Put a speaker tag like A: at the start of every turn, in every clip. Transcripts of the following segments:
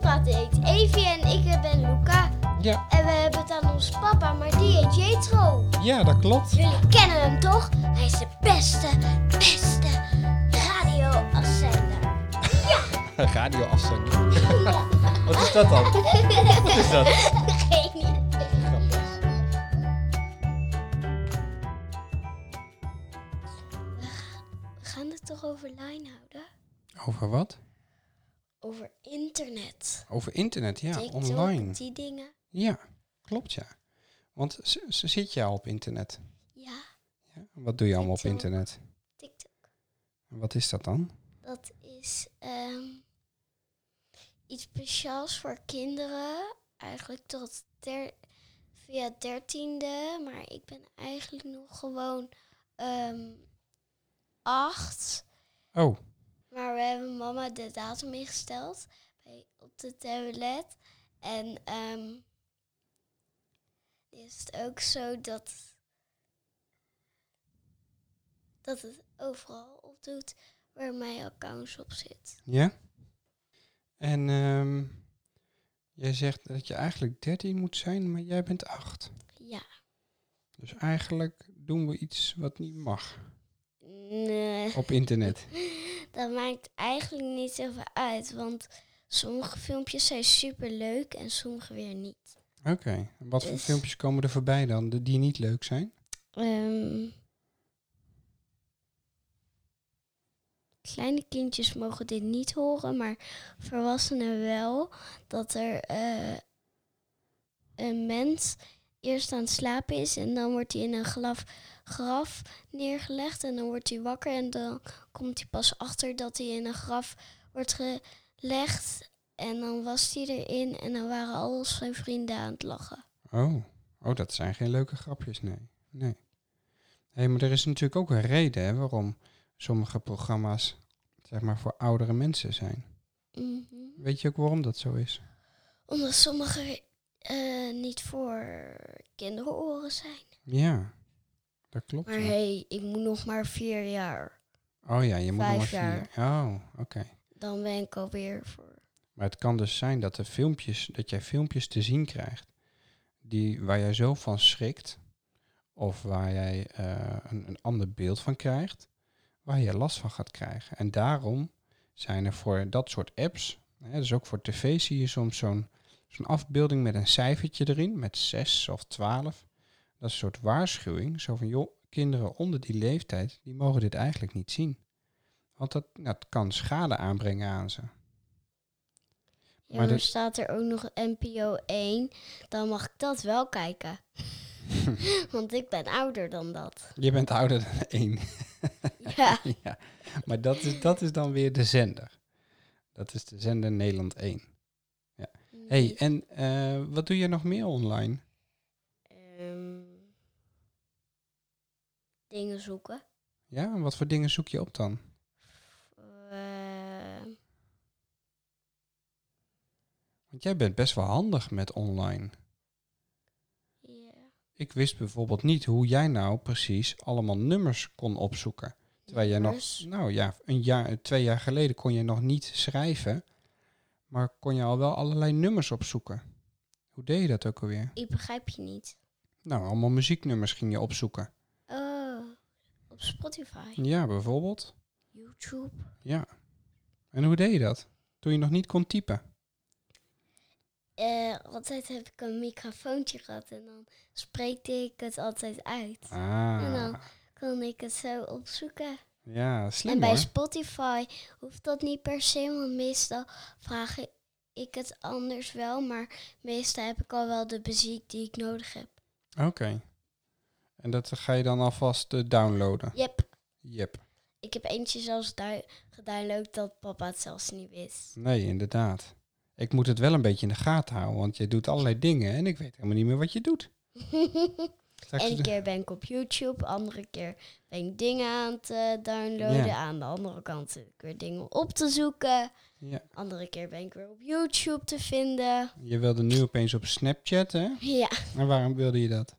A: gaat eet. Evie en ik ben Luca.
B: Ja,
A: En we hebben het aan ons papa, maar die heet Jetro.
B: ja, dat klopt.
A: Jullie kennen hem toch? Hij is de beste, beste radioafzender.
B: Radio afzender. Wat is dat dan? Wat is dat?
A: Geen idee.
B: Grappig.
A: We gaan het toch over line houden?
B: Over wat?
A: Over internet.
B: Over internet, ja,
A: TikTok,
B: online.
A: Die dingen.
B: Ja, klopt ja. Want z- z- zit jij al op internet?
A: Ja,
B: Ja, wat doe je allemaal op
A: TikTok.
B: internet?
A: TikTok.
B: Wat is dat dan?
A: Dat is ehm, iets speciaals voor kinderen. Eigenlijk tot der, via dertiende. Maar ik ben eigenlijk nog gewoon ehm, acht.
B: Oh,
A: Maar we hebben mama de datum ingesteld bij, op de tablet. En ehm is het ook zo dat, dat het overal opdoet waar mijn account op zit.
B: ja. En ehm, jij zegt dat je eigenlijk 13 moet zijn, maar jij bent 8.
A: Ja.
B: Dus eigenlijk doen we iets wat niet mag
A: Nee,
B: op internet.
A: dat maakt eigenlijk niet zoveel uit, want sommige filmpjes zijn super leuk en sommige weer niet.
B: Oké, en wat voor
A: Dus-
B: filmpjes komen er voorbij dan de- die niet leuk zijn?
A: Ehm, kleine kindjes mogen dit niet horen, maar volwassenen wel. Dat er eh, een mens eerst aan het slapen is en dan wordt hij in een graf, graf neergelegd en dan wordt hij wakker en dan komt hij pas achter dat hij in een graf wordt gelegd. En dan was hij erin en dan waren al zijn vrienden aan het lachen.
B: Oh, oh dat zijn geen leuke grapjes, nee. nee. Hé, maar er is natuurlijk ook een reden hè, waarom sommige programma's zeg maar, voor oudere mensen zijn.
A: Mhm.
B: Weet je ook waarom dat zo is?
A: Omdat sommige eh, niet voor kinderoren zijn.
B: Ja, dat klopt.
A: Maar
B: ja.
A: hé, hey, ik moet nog maar vier jaar.
B: oh ja, je moet nog maar
A: vijf
B: vier.
A: jaar.
B: Oh, oké.
A: Dan ben ik alweer voor.
B: Maar het kan dus zijn dat, er filmpjes, dat jij filmpjes te zien krijgt die, waar jij zo van schrikt, of waar jij eh, een, een ander beeld van krijgt, waar je last van gaat krijgen. En daarom zijn er voor dat soort apps, hè, dus ook voor tv zie je soms zo'n zo'n afbeelding met een cijfertje erin, met 6 of 12. Dat is een soort waarschuwing, zo van joh, kinderen onder die leeftijd, die mogen dit eigenlijk niet zien. Want dat, dat kan schade aanbrengen aan ze.
A: Ja,
B: Maar
A: maar
B: dat-
A: staat er ook nog NPO 1, dan mag ik dat wel kijken. Want ik ben ouder dan dat.
B: Je bent ouder dan één.
A: Ja.
B: ja. Maar dat is, dat is dan weer de zender. Dat is de zender Nederland 1. hey, en eh, wat doe je nog meer online?
A: Ehm, dingen zoeken.
B: Ja, en wat voor dingen zoek je op dan?
A: Ehm,
B: Want jij bent best wel handig met online.
A: ja.
B: Ik wist bijvoorbeeld niet hoe jij nou precies allemaal nummers kon opzoeken. Terwijl jij nog,
A: Nummers.
B: nou ja, een jaar, twee jaar geleden kon je nog niet schrijven, maar kon je al wel allerlei nummers opzoeken. Hoe deed je dat ook alweer?
A: Ik begrijp je niet.
B: Nou, allemaal muzieknummers ging je opzoeken.
A: Oh, op Spotify,
B: Ja, bijvoorbeeld.
A: YouTube.
B: Ja. En hoe deed je dat? Toen je nog niet kon typen.
A: Eh, altijd heb ik een microfoontje gehad en dan spreekte ik het altijd uit. En
B: Ah.
A: dan- Kon ik het zo opzoeken.
B: Ja, slim
A: en bij
B: hoor.
A: Spotify hoeft dat niet per se, want meestal vraag i- ik het anders wel. Maar meestal heb ik al wel de muziek die ik nodig heb.
B: Oké. En dat ga je dan alvast eh, downloaden.
A: Yep,
B: Yep.
A: ik heb eentje zelfs du- gedownload dat papa het zelfs niet wist.
B: Nee, inderdaad. Ik moet het wel een beetje in de gaten houden, want je doet allerlei dingen en ik weet helemaal niet meer wat je doet. Straks
A: Eén keer ben ik op YouTube, andere keer ben ik dingen aan het eh, downloaden.
B: Ja.
A: Aan de andere kant zit ik weer dingen op te zoeken.
B: Ja.
A: Andere keer ben ik weer op YouTube te vinden.
B: Je wilde nu opeens op Snapchat, hè?
A: Ja,
B: En waarom wilde je dat?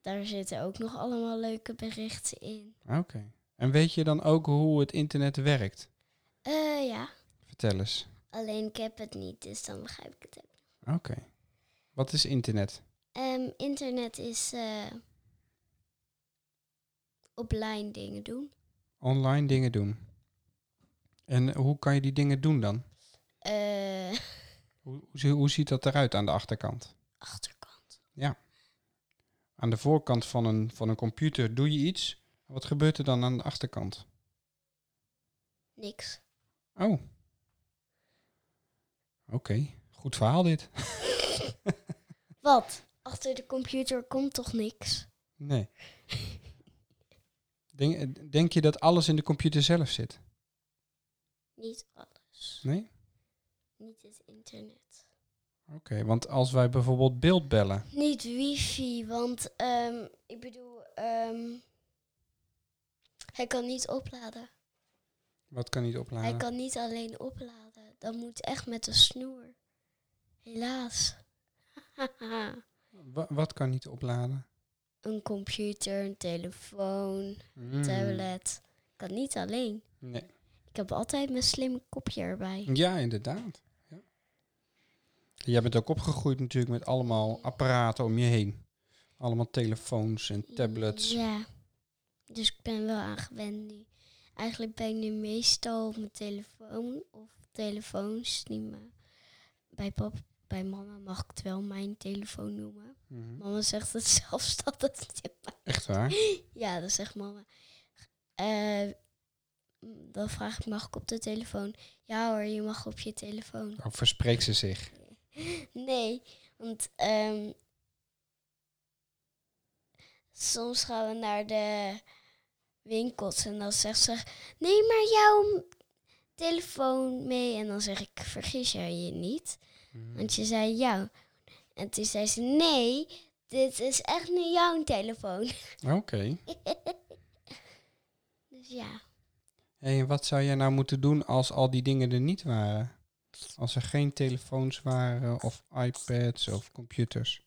A: daar zitten ook nog allemaal leuke berichten in.
B: Oké. En weet je dan ook hoe het internet werkt?
A: Eh ja,
B: Vertel eens.
A: Alleen ik heb het niet, dus dan begrijp ik het ook.
B: Oké. Wat is internet?
A: Ehm, internet is eh, online dingen doen.
B: Online dingen doen. En hoe kan je die dingen doen dan?
A: Eh,
B: Hoe, hoe zie- hoe ziet dat eruit aan de achterkant?
A: achterkant.
B: Aan de voorkant van een, van een computer doe je iets. Wat gebeurt er dan aan de achterkant?
A: Niks.
B: Oh. Oké, goed verhaal dit.
A: Wat? Achter de computer komt toch niks?
B: Nee. Denk, denk je dat alles in de computer zelf zit?
A: Niet alles.
B: Nee?
A: Niet het internet.
B: Oké, want als wij bijvoorbeeld beeld bellen.
A: Niet wifi, want ehm, ik bedoel, ehm, hij kan niet opladen.
B: Wat kan niet
A: Hij
B: opladen?
A: kan niet alleen opladen. Dat moet echt met een snoer. Helaas.
B: Wa- wat kan niet opladen?
A: een computer, een telefoon,
B: Hmm.
A: tablet. Kan niet alleen.
B: Nee.
A: Ik heb altijd mijn slimme kopje erbij.
B: Ja, inderdaad. Ja. Jij bent ook opgegroeid natuurlijk met allemaal apparaten om je heen. Allemaal telefoons en tablets.
A: Ja. Dus ik ben wel aangewend nu. Eigenlijk ben ik nu meestal op mijn telefoon of telefoons. Niet meer. Bij pap, bij mama mag ik het wel mijn telefoon noemen.
B: Mhm.
A: Mama zegt het zelfs dat het niet mag.
B: Echt waar?
A: Ja, dat zegt mama. Eh, m, dan vraag ik, mag ik op de telefoon? Ja hoor, je mag op je telefoon.
B: Of verspreekt ze zich?
A: Nee, want ehm, soms gaan we naar de winkels en dan zegt ze, neem maar jouw telefoon mee. En dan zeg ik, vergis jij je niet? Want je zei jou. En toen zei ze, nee, dit is echt niet jouw telefoon.
B: Oké.
A: Dus ja,
B: Hey, en wat zou jij nou moeten doen als al die dingen er niet waren? Als er geen telefoons waren of iPads of computers.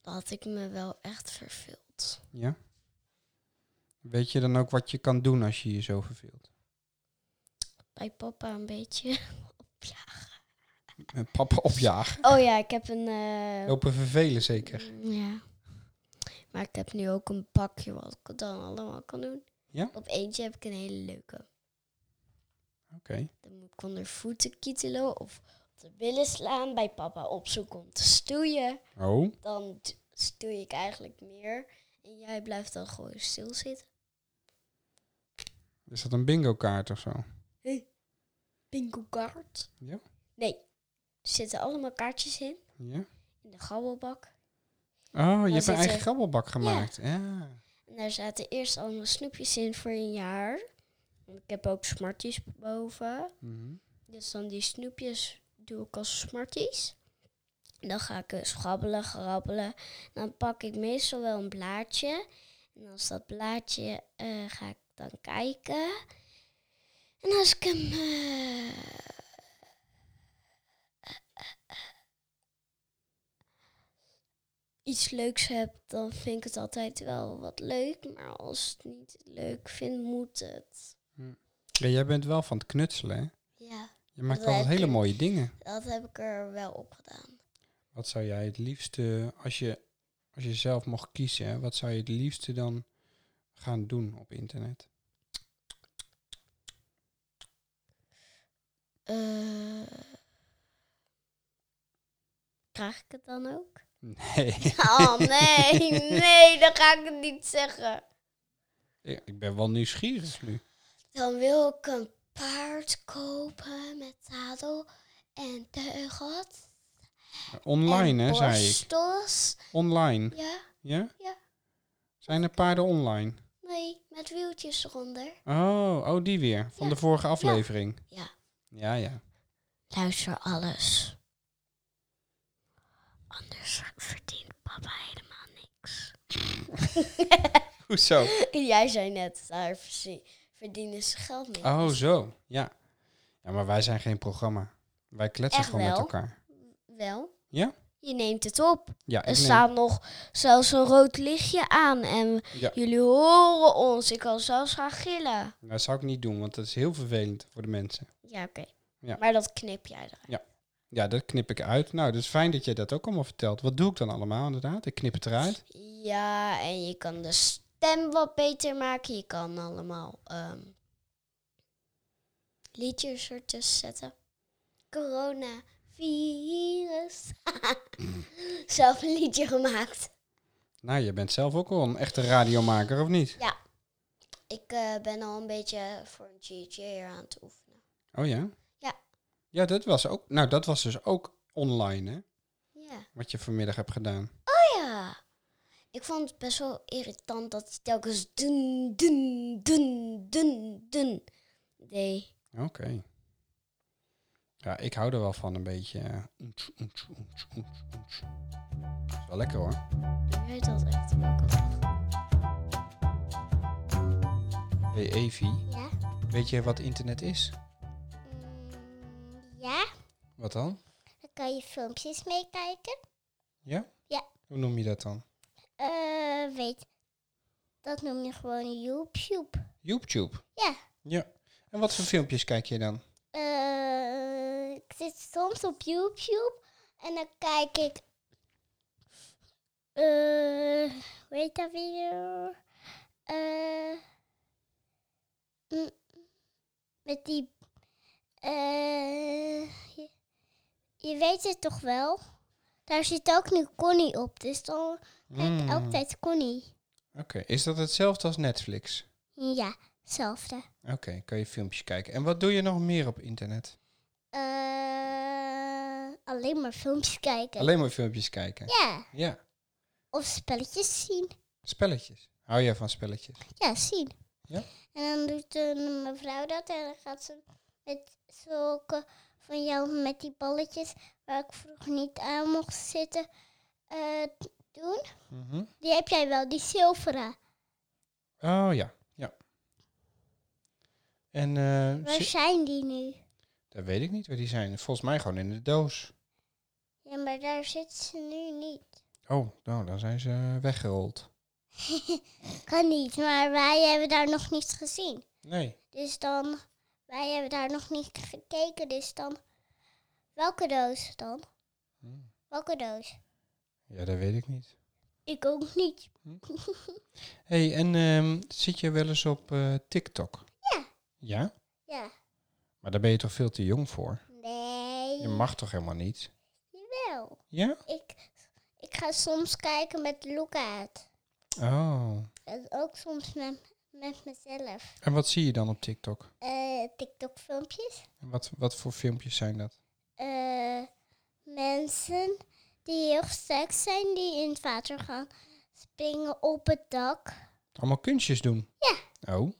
A: dan had ik me wel echt verveeld.
B: Ja? Weet je dan ook wat je kan doen als je je zo verveelt?
A: Bij papa een beetje.
B: Eh, Papa opjagen.
A: Oh ja, ik heb een... eh,
B: Lopen vervelen zeker.
A: Mm, Ja. Maar ik heb nu ook een pakje wat ik dan allemaal kan doen.
B: Ja?
A: Op eentje heb ik een hele leuke.
B: Oké.
A: Dan moet ik onder voeten kietelen of op de billen slaan. Bij papa opzoeken om te stoeien.
B: Oh.
A: Dan t- stoei ik eigenlijk meer. En jij blijft dan gewoon stilzitten.
B: Is dat een bingo kaart of zo?
A: Bingo kaart.
B: Ja.
A: Nee. Er zitten allemaal kaartjes in.
B: Ja.
A: In de grabbelbak.
B: Oh, je hebt
A: zit
B: een eigen
A: er-
B: grabbelbak gemaakt. Ja.
A: En daar zaten eerst allemaal snoepjes in voor een jaar. Want ik heb ook smarties boven.
B: Mhm.
A: Dus dan die snoepjes doe ik als smarties. En dan ga ik eh, schrabbelen, grabbelen. Dan pak ik meestal wel een blaadje. En als dat blaadje eh, ga ik dan kijken. En als ik hem. eh, Iets leuks heb, dan vind ik het altijd wel wat leuk. Maar als ik het niet leuk vind, moet het.
B: Ja, jij bent wel van het knutselen, hè?
A: Ja,
B: Je maakt
A: Wij
B: altijd hele
A: kunnen-
B: mooie dingen.
A: dat heb ik er wel op gedaan.
B: Wat zou jij het liefste, als je, als je zelf mocht kiezen, hè, wat zou je het liefste dan gaan doen op internet?
A: Eh, krijg ik het dan ook?
B: Nee.
A: Oh nee, nee, dan ga ik het niet zeggen.
B: Ja, ik ben wel nieuwsgierig nu.
A: Dan wil ik een paard kopen met zadel en teugels.
B: Online,
A: en
B: hè, zei ik.
A: borstels.
B: Online.
A: Ja,
B: Ja?
A: Ja.
B: Zijn er paarden online?
A: nee, met wieltjes eronder.
B: Oh, oh die weer. Van
A: Ja.
B: de vorige aflevering.
A: Ja.
B: Ja, ja.
A: Luister alles. Anders verdient papa helemaal niks.
B: Hoezo?
A: Jij zei net, daar verzie- verdienen ze geld mee.
B: Oh, zo. Ja. Ja, maar wij zijn geen programma. Wij kletsen
A: Echt
B: gewoon met
A: wel?
B: elkaar.
A: Wel?
B: Ja?
C: Je neemt het op.
B: Ja,
C: Er
B: ik neem-
C: staat nog zelfs een rood lichtje aan en
B: Ja.
C: jullie horen ons. Ik kan zelfs gaan gillen.
B: dat zou ik niet doen, want dat is heel vervelend voor de mensen.
C: Ja, oké.
B: Ja.
C: Maar dat knip jij eruit.
B: Ja, dat knip ik uit. Nou, dat is fijn dat je dat ook allemaal vertelt. Wat doe ik dan allemaal inderdaad? Ik knip het eruit.
C: Ja, en je kan de stem wat beter maken. Je kan allemaal ehm, liedjes ertussen zetten. Corona, virus. Zelf een liedje gemaakt.
B: Nou, je bent zelf ook wel een echte radiomaker, of niet?
C: Ik eh, ben al een beetje voor een GJ'er aan het oefenen.
B: Oh ja?
C: Ja.
B: Ja, dat was ook... Nou, dat was dus ook online, hè?
C: Ja.
B: Wat je vanmiddag hebt gedaan.
C: Oh Ja. Ik vond het best wel irritant dat hij telkens dun, dun, dun, dun, dun deed.
B: Oké. Ja, ik hou er wel van een beetje... eh, oets, oets, oets, oets, oets. Is wel lekker, hoor.
C: Jij dat echt ook al.
B: hey, Evie.
C: Ja?
B: Weet je wat internet is?
C: Mm,
A: Ja,
B: Wat dan?
A: dan kan je filmpjes meekijken.
B: Ja?
A: Ja.
B: Hoe noem je dat dan?
A: Eh, weet, dat noem je gewoon YouTube.
B: YouTube.
A: Ja.
B: Ja. En wat voor filmpjes kijk je dan?
A: Eh, ik zit soms op YouTube en dan kijk ik. eh weet dat weer? Eh, mm, met die. eh, je, je weet het toch wel? Daar zit ook nu Connie op, dus dan kijk ik
B: Mm.
A: elke tijd Connie.
B: Oké, is dat hetzelfde als Netflix?
A: Ja, hetzelfde.
B: Oké, kan je filmpjes kijken. En wat doe je nog meer op internet?
A: Eh, alleen maar filmpjes kijken.
B: Alleen maar filmpjes kijken.
A: Ja.
B: Ja.
A: Of spelletjes zien.
B: Spelletjes. Hou jij van spelletjes?
A: Ja, zien.
B: Ja?
A: En dan doet een mevrouw dat en dan gaat ze met zulke van jou met die balletjes waar ik vroeger niet aan mocht zitten eh, doen.
B: Mhm.
A: Die heb jij wel, die zilveren.
B: Oh ja, ja. En eh,
A: Waar
B: zi-
A: zijn die nu?
B: dat weet ik niet waar die zijn. Volgens mij gewoon in de doos.
A: Ja, maar daar zitten ze nu niet.
B: Oh, nou, dan zijn ze weggerold.
A: Kan niet, maar wij hebben daar nog niet gezien.
B: Nee.
A: Dus dan, wij hebben daar nog niet gekeken, dus dan. Welke doos dan?
B: Hmm.
A: Welke doos?
B: Ja, dat weet ik niet.
A: Ik ook niet.
B: hey, en ehm, zit je wel eens op eh, TikTok?
A: Ja.
B: Ja?
A: Ja.
B: Maar daar ben je toch veel te jong voor?
A: Nee.
B: Je mag toch helemaal niet?
A: Wel.
B: Ja?
A: Ik, ik ga soms kijken met Luca uit.
B: Oh.
A: En ook soms met, met mezelf.
B: En wat zie je dan op TikTok?
A: Eh, TikTok-filmpjes.
B: En wat, wat voor filmpjes zijn dat?
A: Eh, mensen die heel sterk zijn, die in het water gaan springen op het dak.
B: Allemaal kunstjes doen? Ja. Oh.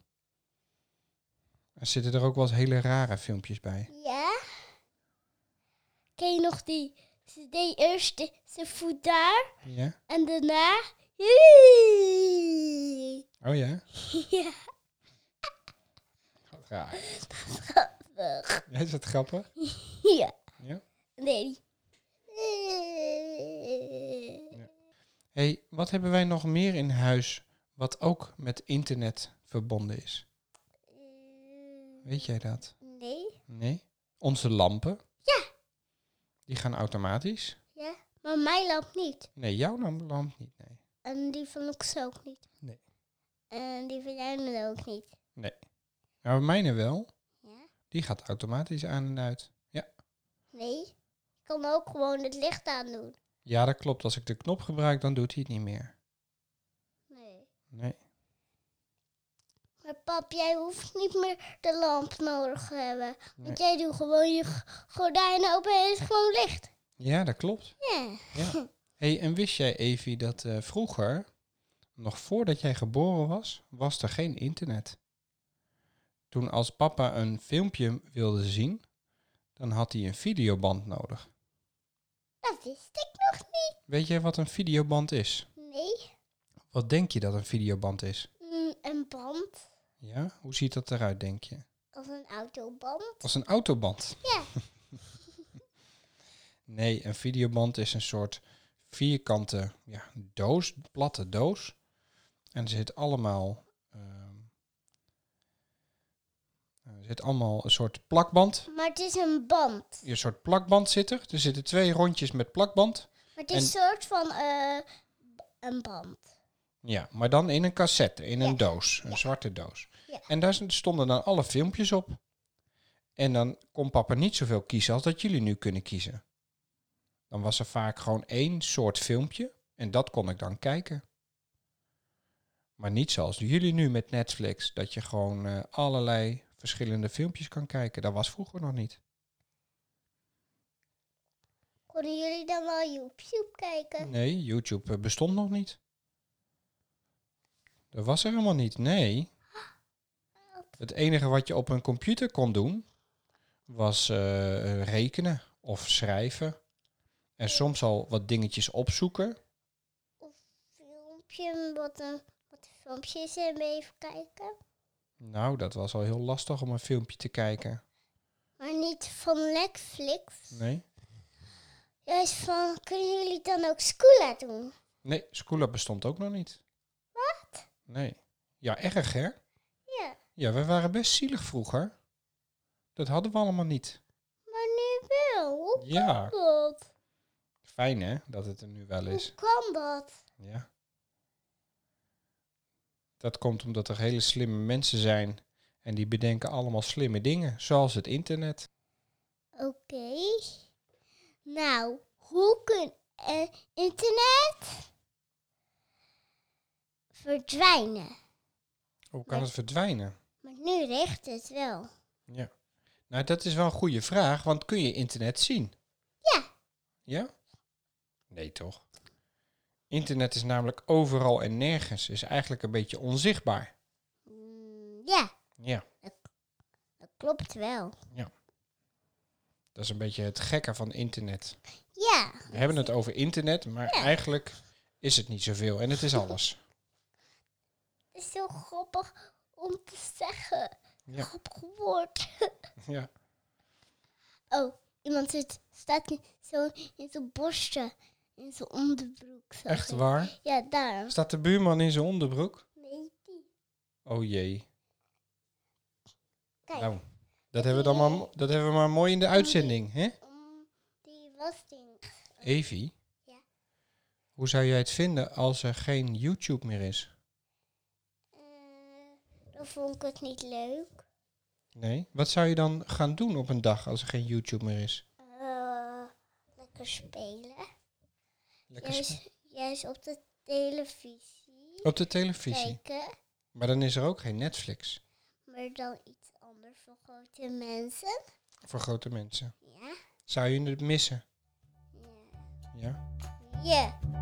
B: En zitten er ook wel eens hele rare filmpjes bij?
A: Ja. Ken je nog die? Ze deed eerst de- zijn voet daar
B: Ja?
A: en daarna.
B: Oh ja?
A: Ja.
B: Wat raar. Ja, is dat grappig?
A: Ja.
B: Ja.
A: Nee.
B: Hé, hey, wat hebben wij nog meer in huis wat ook met internet verbonden is? Weet jij dat?
A: Nee.
B: Nee? Onze lampen? Ja. Die gaan automatisch?
A: Maar mijn lamp niet.
B: Nee, jouw lamp, lamp niet, nee.
A: En die van Lux ook niet.
B: Nee.
A: En die van Jijne ook niet.
B: Nou, mijne wel.
A: Ja?
B: Die gaat automatisch aan en uit.
A: Nee. Ik kan ook gewoon het licht aandoen.
B: Ja, dat klopt. Als ik de knop gebruik, dan doet hij het niet meer.
A: Nee.
B: Nee.
A: Maar pap, jij hoeft niet meer de lamp nodig te hebben. Want jij doet gewoon je g- gordijnen open en het is gewoon licht.
B: Ja, dat klopt.
A: Ja.
B: hey, en wist jij, Evie, dat eh, vroeger, nog voordat jij geboren was, was er geen internet. Toen als papa een filmpje wilde zien, dan had hij een videoband nodig.
A: Dat wist ik nog niet.
B: Weet jij wat een videoband is?
A: Nee.
B: Wat denk je dat een videoband is?
A: Mm, een band.
B: Ja, hoe ziet dat eruit, denk je?
A: Als een autoband.
B: Als een autoband.
A: Ja.
B: Nee, een videoband is een soort vierkante ja, doos, platte doos. En er zit allemaal, ehm, er zit allemaal een soort plakband.
A: Maar het is een band.
B: Een soort plakband zit er. Er zitten twee rondjes met plakband.
A: Maar het is een soort van eh, b- een band.
B: Ja, maar dan in een cassette, in een
A: Ja.
B: doos, een
A: Ja.
B: zwarte doos.
A: Ja.
B: En daar stonden dan alle filmpjes op. En dan kon papa niet zoveel kiezen als dat jullie nu kunnen kiezen. Dan was er vaak gewoon één soort filmpje en dat kon ik dan kijken. Maar niet zoals jullie nu met Netflix, dat je gewoon eh, allerlei verschillende filmpjes kan kijken. Dat was vroeger nog niet.
A: Konden jullie dan wel YouTube kijken?
B: Nee, YouTube eh, bestond nog niet. Dat was er helemaal niet, nee. Het enige wat je op een computer kon doen, was eh, rekenen of schrijven. En soms al wat dingetjes opzoeken.
A: Filmpje, wat een, wat een filmpje is en even kijken.
B: Nou, dat was al heel lastig om een filmpje te kijken.
A: Maar niet van Netflix.
B: Nee?
A: Juist van, kunnen jullie dan ook Scoola doen?
B: Nee, Schoola bestond ook nog niet. Wat? Nee. Ja, erg hè?
A: Ja,
B: Ja, we waren best zielig vroeger. Dat hadden we allemaal niet.
A: maar nu wel. Hoe kan
B: Ja,
A: dat?
B: fijn hè, dat het er nu wel is.
A: Hoe kan dat?
B: Ja. Dat komt omdat er hele slimme mensen zijn. En die bedenken allemaal slimme dingen, zoals het internet.
A: Oké. Nou, hoe kan eh, internet verdwijnen?
B: Hoe kan het verdwijnen?
A: Maar nu richt het wel.
B: Ja. Nou, dat is wel een goede vraag, want kun je internet zien?
A: Ja.
B: Ja? Nee, toch? Internet is namelijk overal en nergens, is eigenlijk een beetje onzichtbaar.
A: Mm, ja,
B: Ja,
A: dat klopt wel.
B: dat is een beetje het gekke van internet.
A: Ja,
B: We hebben het over internet, maar
A: Ja.
B: eigenlijk is het niet zoveel en het is alles.
A: het is heel grappig om te zeggen.
B: Ja.
A: Grappig woord.
B: Ja.
A: Oh, iemand zit, staat in- zo in zijn borstje, in zijn onderbroek. zag
B: Echt
A: ik.
B: waar?
A: Ja, daar.
B: Staat de buurman in zijn onderbroek?
A: Nee, die.
B: Oh jee.
A: Kijk,
B: Nou, dat hebben, we dan maar, dat hebben we maar mooi in de uitzending, hè?
A: om die wasding.
B: Evi?
A: Ja.
B: Hoe zou jij het vinden als er geen YouTube meer is?
A: Eh, dan vond ik het niet leuk.
B: Nee? Wat zou je dan gaan doen op een dag als er geen YouTube meer is?
A: Eh, lekker spelen.
B: Lekker sp-
A: Juist, juist op de televisie.
B: op de televisie.
A: Kijken.
B: Maar dan is er ook geen Netflix
A: Maar dan iets anders voor grote mensen.
B: voor grote mensen.
A: Ja.
B: Zou je het missen?
A: Ja.
B: Ja.
A: Ja.